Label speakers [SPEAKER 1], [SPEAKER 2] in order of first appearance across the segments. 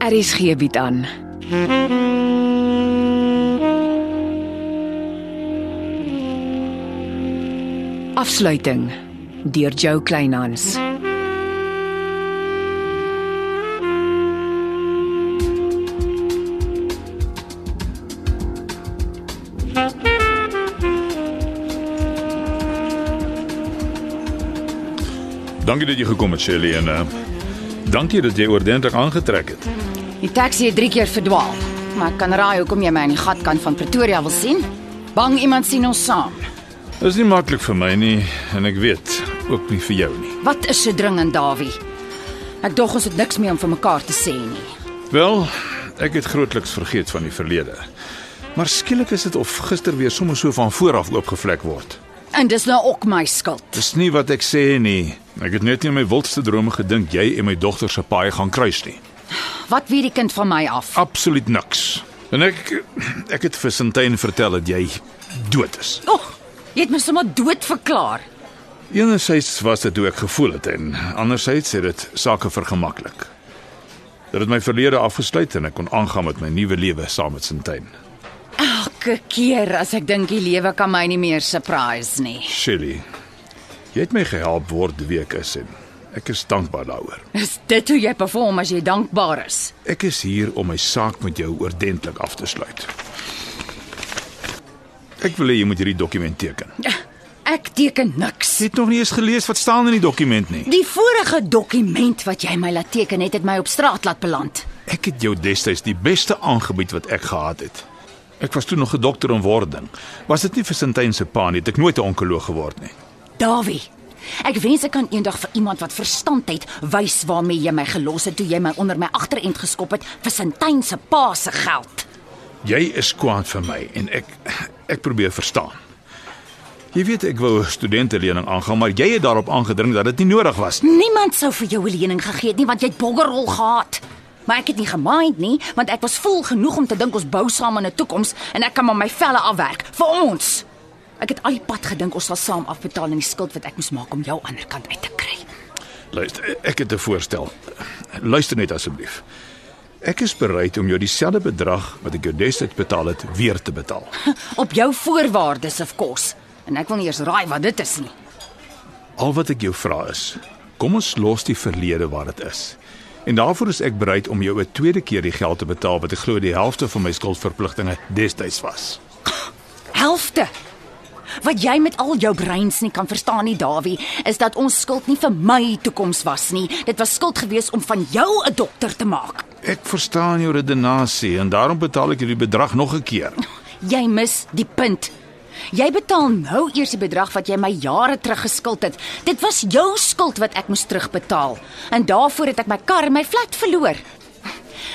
[SPEAKER 1] Er
[SPEAKER 2] Aries gee bied aan. Afsluiting deur Jo Kleinhans.
[SPEAKER 3] Dankie dat jy gekom het, Shirley en uh, dankie dat jy ordentlik aangetrek het.
[SPEAKER 1] Die taxi het 3 keer verdwaal, maar ek kan raai hoekom jy my aan die gatkant van Pretoria wil sien. Bang iemand sien ons saam.
[SPEAKER 3] Dit is nie maklik vir my nie en ek weet ook nie vir jou nie.
[SPEAKER 1] Wat is so dringend, Dawie? Ek dog ons het niks meer om vir mekaar te sê nie.
[SPEAKER 3] Wel, ek het grootliks vergeet van die verlede. Maar skielik is dit of gister weer sommer so van vooraf oopgevlek word.
[SPEAKER 1] En dis nou ook my skuld.
[SPEAKER 3] Dis nie wat ek sê nie. Ek het net nie in my wildste drome gedink jy en my dogter se paai gaan kruis nie.
[SPEAKER 1] Wat weet die kind van my af?
[SPEAKER 3] Absoluut niks. En ek ek het vir Sintyn vertel dat jy dood is.
[SPEAKER 1] O, oh, jy het my sommer dood verklaar.
[SPEAKER 3] Enerzijds was dit hoe ek gevoel het en anderzijds het dit sake vergemaklik. Dit het my verlede afgesluit en ek kon aangaan met my nuwe lewe saam met Sintyn.
[SPEAKER 1] Elke keer as ek dink die lewe kan my nie meer surprise nie.
[SPEAKER 3] Shirley, jy het my gehelp word wie ek is en ek is dankbaar daaroor.
[SPEAKER 1] Is dit hoe jy perform as jy dankbaar is?
[SPEAKER 3] Ek is hier om my saak met jou oordentlik af te sluit. Ek wil hê jy moet hierdie dokument teken.
[SPEAKER 1] Ek teken niks.
[SPEAKER 3] Jy het nog nie eens gelees wat staan in die dokument nie.
[SPEAKER 1] Die vorige dokument wat jy my laat teken het, het my op straat laat beland.
[SPEAKER 3] Ek het jou destyds die beste aangebied wat ek gehad het. Ek was toe nog 'n dokter in wording. Was dit nie vir Sintyn se pa nie, het ek nooit 'n onkoloog geword nie.
[SPEAKER 1] Dawie, ek wens ek kan eendag vir iemand wat verstand het, wys waarmee jy my gelos het toe jy my onder my agterend geskop het vir Sintyn se pa se geld.
[SPEAKER 3] Jy is kwaad vir my en ek ek probeer verstaan. Jy weet ek wou 'n studentelening aangaan, maar jy het daarop aangedring dat dit nie nodig was nie.
[SPEAKER 1] Niemand sou vir jou 'n lening gegee het nie want jy het boggerol gehad. Maar ek het nie gemind nie, want ek was vol genoeg om te dink ons bou saam aan 'n toekoms en ek kan maar my velle afwerk vir ons. Ek het al die pad gedink ons sal saam afbetaal aan die skuld wat ek moes maak om jou aan die ander kant uit te kry.
[SPEAKER 3] Luister, ek het 'n voorstel. Luister net asseblief. Ek is bereid om jou dieselfde bedrag wat ek jou destyds betaal het, weer te betaal.
[SPEAKER 1] Op jou voorwaardes of kos. En ek wil nie eers raai wat dit is nie.
[SPEAKER 3] Al wat ek jou vra is, kom ons los die verlede waar dit is. En daarvoor is ek bereid om jou 'n tweede keer die geld te betaal wat ek glo die helfte van my skuldverpligtinge destyds was.
[SPEAKER 1] Helfte. Wat jy met al jou breins nie kan verstaan nie, Dawie, is dat ons skuld nie vir my toekoms was nie. Dit was skuld gewees om van jou 'n dokter te maak.
[SPEAKER 3] Ek verstaan jou redenasie en daarom betaal ek hierdie bedrag nog 'n keer.
[SPEAKER 1] Jy mis die punt. Jy betaal nou eers die bedrag wat jy my jare terug geskuld het. Dit was jou skuld wat ek moes terugbetaal. En daarvoor het ek my kar en my flat verloor.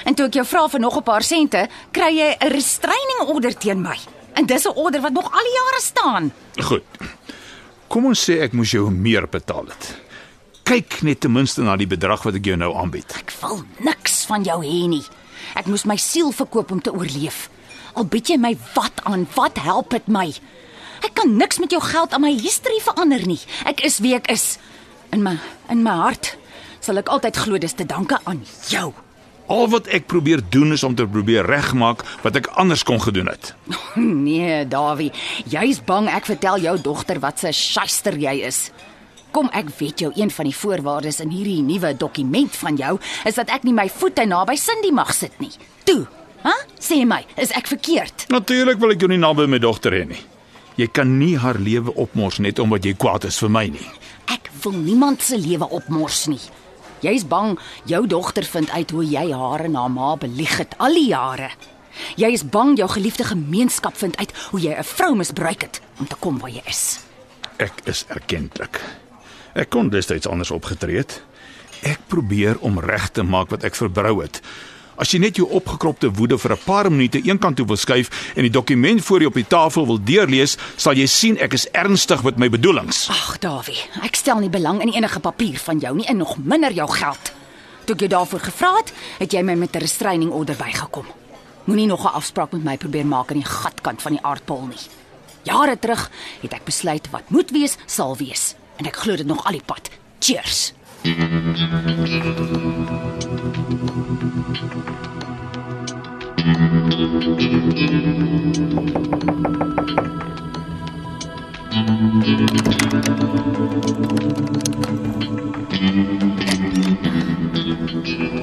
[SPEAKER 1] En toe ek jou vra vir nog 'n paar sente, kry jy 'n restraining order teen my. En dis 'n order wat nog al die jare staan.
[SPEAKER 3] Goed. Kom ons sê ek moes jou meer betaal het. Kyk net ten minste na die bedrag wat ek jou nou aanbied.
[SPEAKER 1] Ek wil niks van jou hê nie. Ek moes my siel verkoop om te oorleef. Al bied jy my wat aan, wat help dit my? Ek kan niks met jou geld aan my history verander nie. Ek is wie ek is. In my in my hart sal ek altyd glo dis te danke aan jou.
[SPEAKER 3] Al wat ek probeer doen is om te probeer regmaak wat ek anders kon gedoen het.
[SPEAKER 1] Nee, Dawie, jy's bang ek vertel jou dogter wat 'n shyster jy is. Kom, ek weet jou een van die voorwaardes in hierdie nuwe dokument van jou is dat ek nie my voete naby Cindy mag sit nie. Toe, hè? Sê my, is ek verkeerd?
[SPEAKER 3] Natuurlik wil ek jou nie naby my dogter hê nie. Jy kan nie haar lewe opmors net omdat jy kwaad is vir my nie.
[SPEAKER 1] Ek wil niemand se lewe opmors nie. Jy's bang jou dogter vind uit hoe jy haar en haar ma belieg het al die jare. Jy is bang jou geliefde gemeenskap vind uit hoe jy 'n vrou misbruik het om te kom waar jy is.
[SPEAKER 3] Ek is erkentlik. Ek kon destyds anders opgetree het. Ek probeer om reg te maak wat ek verbrou het. As jy net jou opgekropte woede vir 'n paar minute eenkant toe wil skuif en die dokument voor jou op die tafel wil deurlees, sal jy sien ek is ernstig met my bedoelings.
[SPEAKER 1] Ag, Dawie, ek stel nie belang in enige papier van jou nie en nog minder jou geld. Toe ek jou daarvoor gevra het, het jy my met 'n restraining order bygekom. Moenie nog 'n afspraak met my probeer maak aan die gatkant van die aardbol nie. Jare terug het ek besluit wat moet wees, sal wees en ek glo dit nog al die pad. Cheers.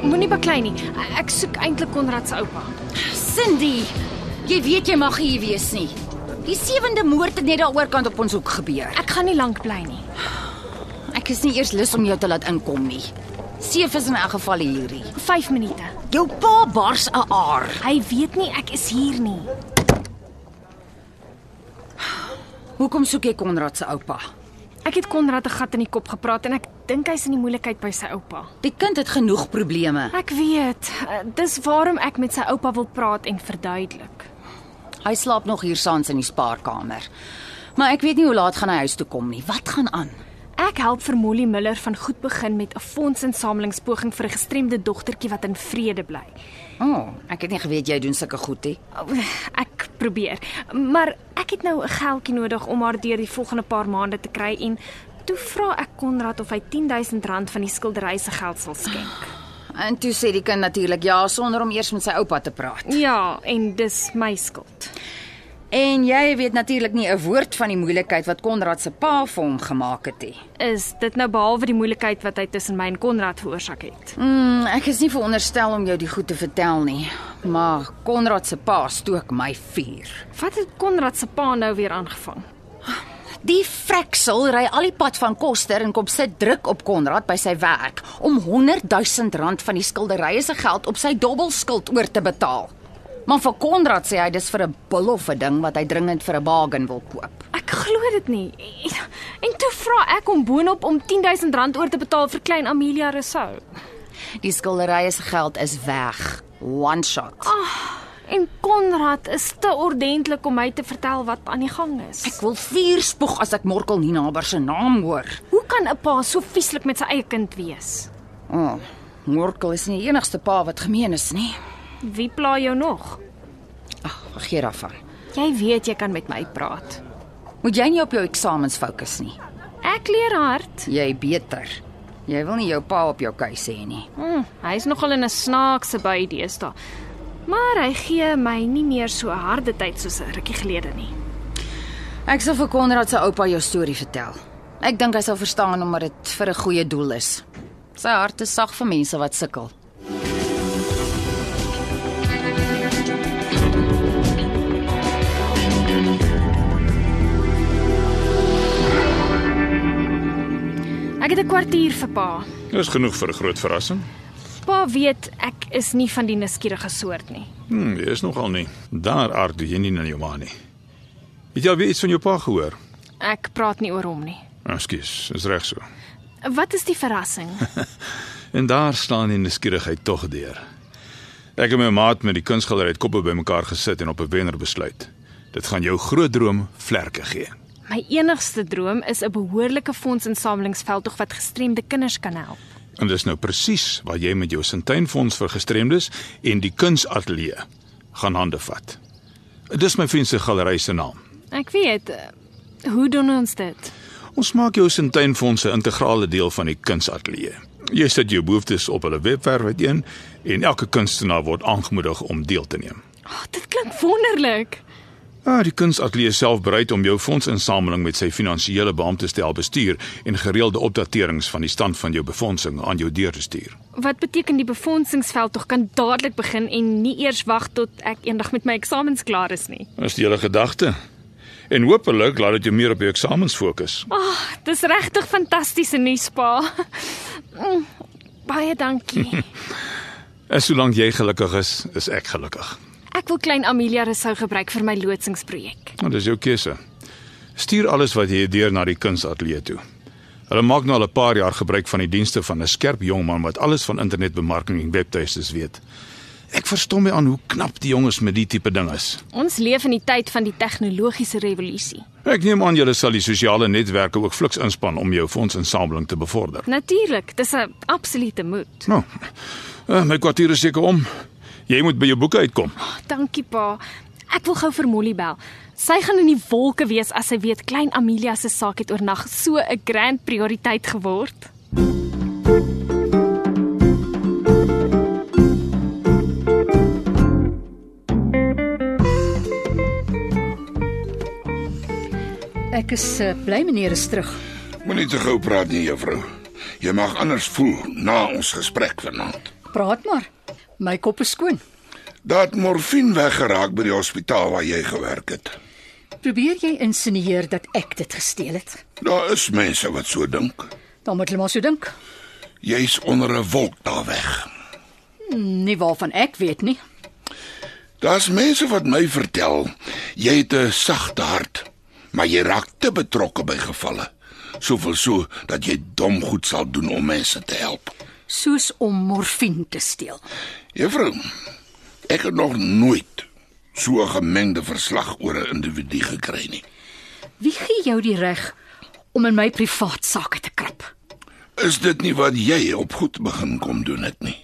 [SPEAKER 4] Moenie baklei nie. Ek soek eintlik Konrad se oupa.
[SPEAKER 1] Cindy, jy weet jy mag hier wees nie. Die sewende moord het net daaroor kant op ons hoek gebeur.
[SPEAKER 4] Ek gaan nie lank bly nie.
[SPEAKER 1] Ek is nie eers lus om jou te laat inkom nie. Seef is in elk geval hierdie.
[SPEAKER 4] 5 minute.
[SPEAKER 1] Jou pa bars 'n aar.
[SPEAKER 4] Hy weet nie ek is hier nie.
[SPEAKER 1] Hoekom soek jy Konrad se oupa?
[SPEAKER 4] Ek het Konrad 'n gat in die kop gepraat en ek dink hy's in die moeilikheid by sy oupa.
[SPEAKER 1] Die kind het genoeg probleme.
[SPEAKER 4] Ek weet, eh, dis waarom ek met sy oupa wil praat en verduidelik.
[SPEAKER 1] Hy slaap nog hier saans in die spaarkamer. Maar ek weet nie hoe laat gaan hy huis toe kom nie. Wat gaan aan?
[SPEAKER 4] Ek help vir Molly Miller van goed begin met 'n fondsinsamelingspoging vir 'n gestremde dogtertjie wat in vrede bly.
[SPEAKER 1] O, oh, ek het nie geweet jy doen sulke goed nie.
[SPEAKER 4] Ek probeer, maar ek het nou 'n geldjie nodig om haar deur die volgende paar maande te kry en toe vra ek Konrad of hy R10000 van die skildery se geld sal skenk.
[SPEAKER 1] En toe sê die kind natuurlik ja sonder om eers met sy oupa te praat.
[SPEAKER 4] Ja, en dis my skuld.
[SPEAKER 1] En jy weet natuurlik nie 'n woord van die moeilikheid wat Konrad se pa vir hom gemaak het nie.
[SPEAKER 4] Is dit nou behalwe die moeilikheid wat hy tussen my en Konrad veroorsaak het?
[SPEAKER 1] Mm, ek is nie veronderstel om jou die goed te vertel nie, maar Konrad se pa stook my vuur.
[SPEAKER 4] Wat het Konrad se pa nou weer aangevang?
[SPEAKER 1] Die freksel ry al die pad van Koster en kom sit druk op Konrad by sy werk om 100 000 rand van die skilderye se geld op sy dobbelskuld oor te betaal. Maar vir Konrad sê hy dis vir 'n bil of 'n ding wat hy dringend vir 'n bargain wil koop.
[SPEAKER 4] Ek glo dit nie. En, en toe vra ek hom boonop om R10000 oor te betaal vir klein Amelia Rousseau.
[SPEAKER 1] Die skilderye se geld is weg. One shot.
[SPEAKER 4] En Konrad is te ordentlik om my te vertel wat aan die gang is.
[SPEAKER 1] Ek wil vuur spoeg as ek Morkel nie naboer se naam hoor.
[SPEAKER 4] Hoe kan 'n pa so vieslik met sy eie kind wees?
[SPEAKER 1] O, oh, Morkel is nie die enigste pa wat gemeen is nie.
[SPEAKER 4] Wie pla jou nog?
[SPEAKER 1] Ag, vergeet daarvan.
[SPEAKER 4] Jy weet jy kan met my praat.
[SPEAKER 1] Moet jy nie op jou eksamens fokus nie.
[SPEAKER 4] Ek leer hard.
[SPEAKER 1] Jy beter. Jy wil nie jou pa op jou keuse hê nie.
[SPEAKER 4] Hm, hy's nogal in 'n snaakse by deesdae. Maar hy gee my nie meer so 'n harde tyd soos 'n rukkie gelede nie.
[SPEAKER 1] Ek sal vir Konrad se oupa jou storie vertel. Ek dink hy sal verstaan omdat dit vir 'n goeie doel is. Sy hart is sag vir mense wat sukkel.
[SPEAKER 4] Ek het 'n kwartier vir pa.
[SPEAKER 3] Dis genoeg vir 'n groot verrassing.
[SPEAKER 4] Pa weet ek is nie van die nuuskierige soort nie.
[SPEAKER 3] Hm, jy is nogal nie. Daar aard doen jy nie na jou ma nie. Het jy al weer iets van jou pa gehoor?
[SPEAKER 4] Ek praat nie oor hom nie.
[SPEAKER 3] Ekskuus, is reg so.
[SPEAKER 4] Wat is die verrassing?
[SPEAKER 3] En daar staan die nuuskierigheid tog deur. Ek en my maat met die kunstgalery het koppe bymekaar gesit en op 'n wenner besluit. Dit gaan jou groot droom vlerke gee.
[SPEAKER 4] My enigste droom is 'n behoorlike fondsinsamelingsveldtog wat gestremde kinders kan help.
[SPEAKER 3] En dis nou presies waar jy met jou Sintuinfonds vir gestremdes en die kunsateljee gaan hande vat. Dis my vriend se galery se naam.
[SPEAKER 4] Ek weet. eh, Hoe doen ons dit?
[SPEAKER 3] Ons maak jou Sintuinfonds 'n integrale deel van die kunsateljee. Jy sit jou behoeftes op hulle webwerf uiteen en elke kunstenaar word aangemoedig om deel te neem.
[SPEAKER 4] Oh, dit klink wonderlik.
[SPEAKER 3] Ah, die kunsateljee self bereid om jou fondsinsameling met sy finansiële beampte te help bestuur en gereelde opdaterings van die stand van jou befondsing aan jou deur te stuur.
[SPEAKER 4] Wat beteken die befondsingsveldtog kan dadelik begin en nie eers wag tot ek eendag met my eksamens klaar is nie.
[SPEAKER 3] Dis die hele gedagte. En hopelik laat dit jou meer op jou eksamens fokus.
[SPEAKER 4] Ag, oh, dis regtig fantastiese nuus, pa. Mm, Baie dankie.
[SPEAKER 3] En solank jy gelukkig is, is ek gelukkig.
[SPEAKER 4] Ek wil klein Amelia Rousseau gebruik vir my lootsingsprojek.
[SPEAKER 3] Nou, dis jou keuse. Stuur alles wat jy het deur na die kunsateljee toe. Hulle maak nou al 'n paar jaar gebruik van die dienste van 'n skerp jongman wat alles van internetbemarking en webtuistes weet. Ek verstom my aan hoe knap die jonges met die tipe ding is.
[SPEAKER 4] Ons leef in die tyd van die tegnologiese revolusie.
[SPEAKER 3] Ek neem aan julle sal die sosiale netwerke ook fliks inspann om jou fondsinsameling te bevorder.
[SPEAKER 4] Natuurlik, dis 'n absolute moet.
[SPEAKER 3] Nou, eh, my kwartier is seker om. Jy moet by jou boeke uitkom.
[SPEAKER 4] Ah, Dankie pa. Ek wil gou vir Molly bel. Sy gaan in die wolke wees as sy weet klein Amelia se saak het oornag so 'n grand prioriteit geword.
[SPEAKER 5] Ek is uh, bly meneer is terug.
[SPEAKER 6] Moenie te gou praat nie, juffrou. Jy mag anders voel na ons gesprek vanaand.
[SPEAKER 5] Praat maar. My kop is skoon.
[SPEAKER 6] Daar het morfine weggeraak by die hospitaal waar jy gewerk het.
[SPEAKER 5] Probeer jy insinieer dat ek dit gesteel het?
[SPEAKER 6] Daar is mense wat so dink.
[SPEAKER 5] Dan moet hulle maar so dink.
[SPEAKER 6] Jy's onder 'n wolk daar weg.
[SPEAKER 5] Nie waarvan ek weet nie.
[SPEAKER 6] Daar's mense wat my vertel jy het 'n sagte hart, maar jy raak te betrokke by gevalle. Soveel so dat jy dom goed sal doen om mense te help.
[SPEAKER 5] Soos om morfine te steel.
[SPEAKER 6] Juffrou, ek het nog nooit so 'n gemengde verslag oor 'n individu gekry nie.
[SPEAKER 5] Wie gee jou die reg om in my privaat sake te krap?
[SPEAKER 6] Is dit nie wat jy op goed begin kom doen het nie?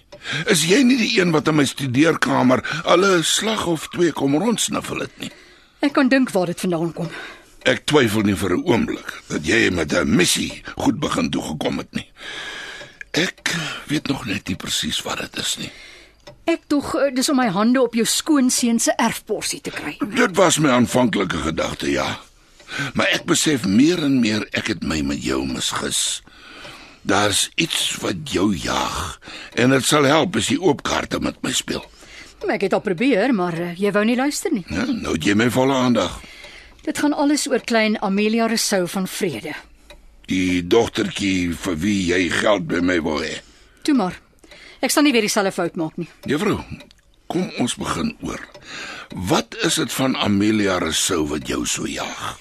[SPEAKER 6] Is jy nie die een wat in my studeerkamer alle 'n slag of twee kom rondsniffel het nie?
[SPEAKER 5] Ek kan dink waar dit vandaan kom.
[SPEAKER 6] Ek twyfel nie vir 'n oomblik dat jy met 'n missie goed begin toe gekom het nie. Ek weet nog net nie presies wat dit is nie.
[SPEAKER 5] Ek tog eh, dis om my hande op jou skoonseun se erfporsie te kry.
[SPEAKER 6] Dit was my aanvanklike gedagte, ja. Maar ek besef meer en meer ek het my met jou misgis. Daar's iets wat jou jaag en dit sal help as jy oop kaarte met my speel.
[SPEAKER 5] Ek het al probeer, maar eh, jy wou nie luister nie.
[SPEAKER 6] Ja, nou het jy my volle aandag.
[SPEAKER 5] Dit gaan alles oor klein Amelia Rousseau van Vrede.
[SPEAKER 6] Die dogtertjie vir wie jy geld by my wou hê.
[SPEAKER 5] Toe maar. Ek sal nie weer dieselfde fout maak nie.
[SPEAKER 6] Juffrou, kom ons begin oor. Wat is dit van Amelia Rousseau wat jou so jaag?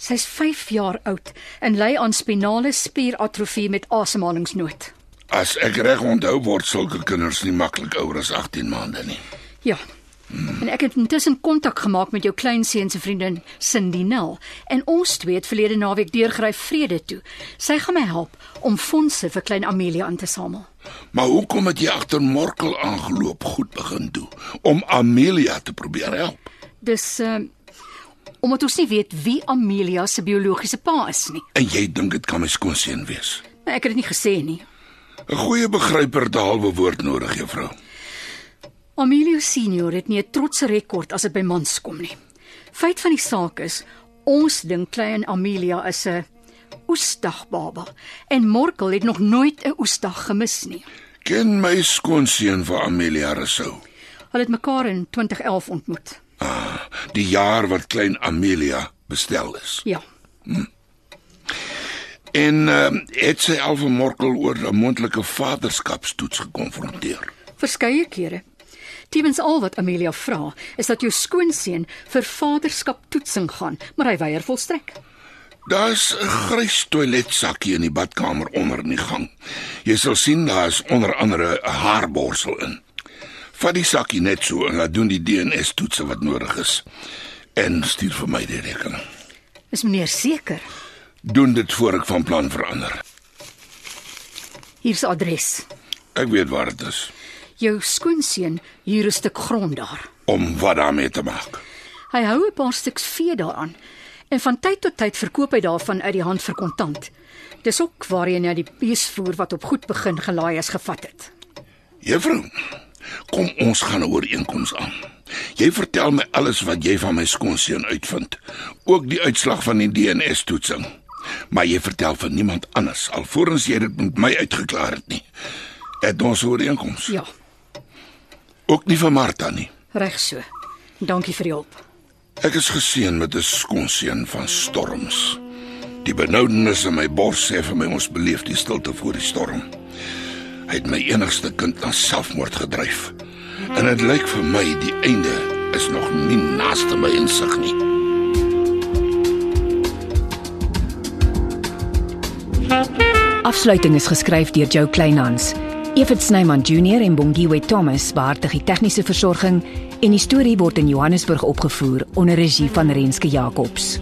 [SPEAKER 5] Sy's 5 jaar oud en ly aan spinale spieratrofie met asemhalingsnood.
[SPEAKER 6] As ek reg onthou word sulke kinders nie maklik ouer as 18 maande nie.
[SPEAKER 5] Ja. En ek het intussen kontak gemaak met jou kleinseun se vriendin Cindy Nel en ons twee het verlede naweek deurgryf Vrede toe. Sy gaan my help om fondse vir klein Amelia aan te samel.
[SPEAKER 6] Maar hoekom het jy agter Morkel aangeloop goed begin doen om Amelia te probeer help?
[SPEAKER 5] Dis ehm omdat ons nie weet wie Amelia se biologiese pa is nie.
[SPEAKER 6] En jy dink dit kan my skoonseun wees.
[SPEAKER 5] Maar ek het dit nie gesê nie.
[SPEAKER 6] 'n Goeie begryper taal bewoord nodig, juffrou.
[SPEAKER 5] Amelio senior het nie 'n trotse rekord as dit by mans kom nie. Feit van die saak is, ons dink klein Amelia is 'n oesdagbaba en Morkel het nog nooit 'n oesdag gemis nie.
[SPEAKER 6] Ken my skoonseun vir Amelia Rousseau.
[SPEAKER 5] Hulle het mekaar in 2011 ontmoet.
[SPEAKER 6] Ah, die jaar wat klein Amelia bestel is.
[SPEAKER 5] Ja,
[SPEAKER 6] En uh, het sy al van Morkel oor 'n moontlike vaderskapstoets gekonfronteer.
[SPEAKER 5] verskeie kere. Tewens al wat Amelia vra, is dat jou skoonseun vir vaderskaptoetsing gaan, maar hy weier volstrek.
[SPEAKER 6] Daar's 'n grys toiletsakkie in die badkamer onder in die gang. Jy sal sien daar's onder andere 'n haarborsel in. Vat die sakkie net so en laat doen die DNS-toetse wat nodig is en stuur vir my die rekening.
[SPEAKER 5] Is meneer seker?
[SPEAKER 6] Doen dit voor ek van plan verander.
[SPEAKER 5] Hier's adres.
[SPEAKER 6] Ek weet waar dit is
[SPEAKER 5] Jou skoonseun huur 'n stuk grond daar.
[SPEAKER 6] om wat daarmee te maak.
[SPEAKER 5] Hy hou 'n paar stuks vee daaraan en van tyd tot tyd verkoop hy daarvan uit die hand vir kontant. Dis ook waarheen hy die beesvoer wat op goed begin gelaai is gevat het.
[SPEAKER 6] Juffrou, kom ons gaan 'n ooreenkoms aan. Jy vertel my alles wat jy van my skoonseun uitvind, ook die uitslag van die DNS-toetsing. Maar jy vertel van niemand anders alvorens jy dit met my uitgeklaar het nie. Het ons 'n ooreenkoms?
[SPEAKER 5] Ja,
[SPEAKER 6] Ook nie vir Martha nie.
[SPEAKER 5] reg so. Dankie vir die hulp.
[SPEAKER 6] Ek is geseën met 'n skoonseun van storms. Die benoudenis in my bors sê vir my ons beleef die stilte voor die storm. Hy het my enigste kind na selfmoord gedryf. En dit lyk vir my die einde is nog nie naaste my insig nie.
[SPEAKER 2] Afsluiting is geskryf deur Jo Kleinhans. Evit Snyman Junior en Bongwe Thomas beheerdig die tegniese versorging en die storie word in Johannesburg opgevoer onder regie van Renske Jacobs.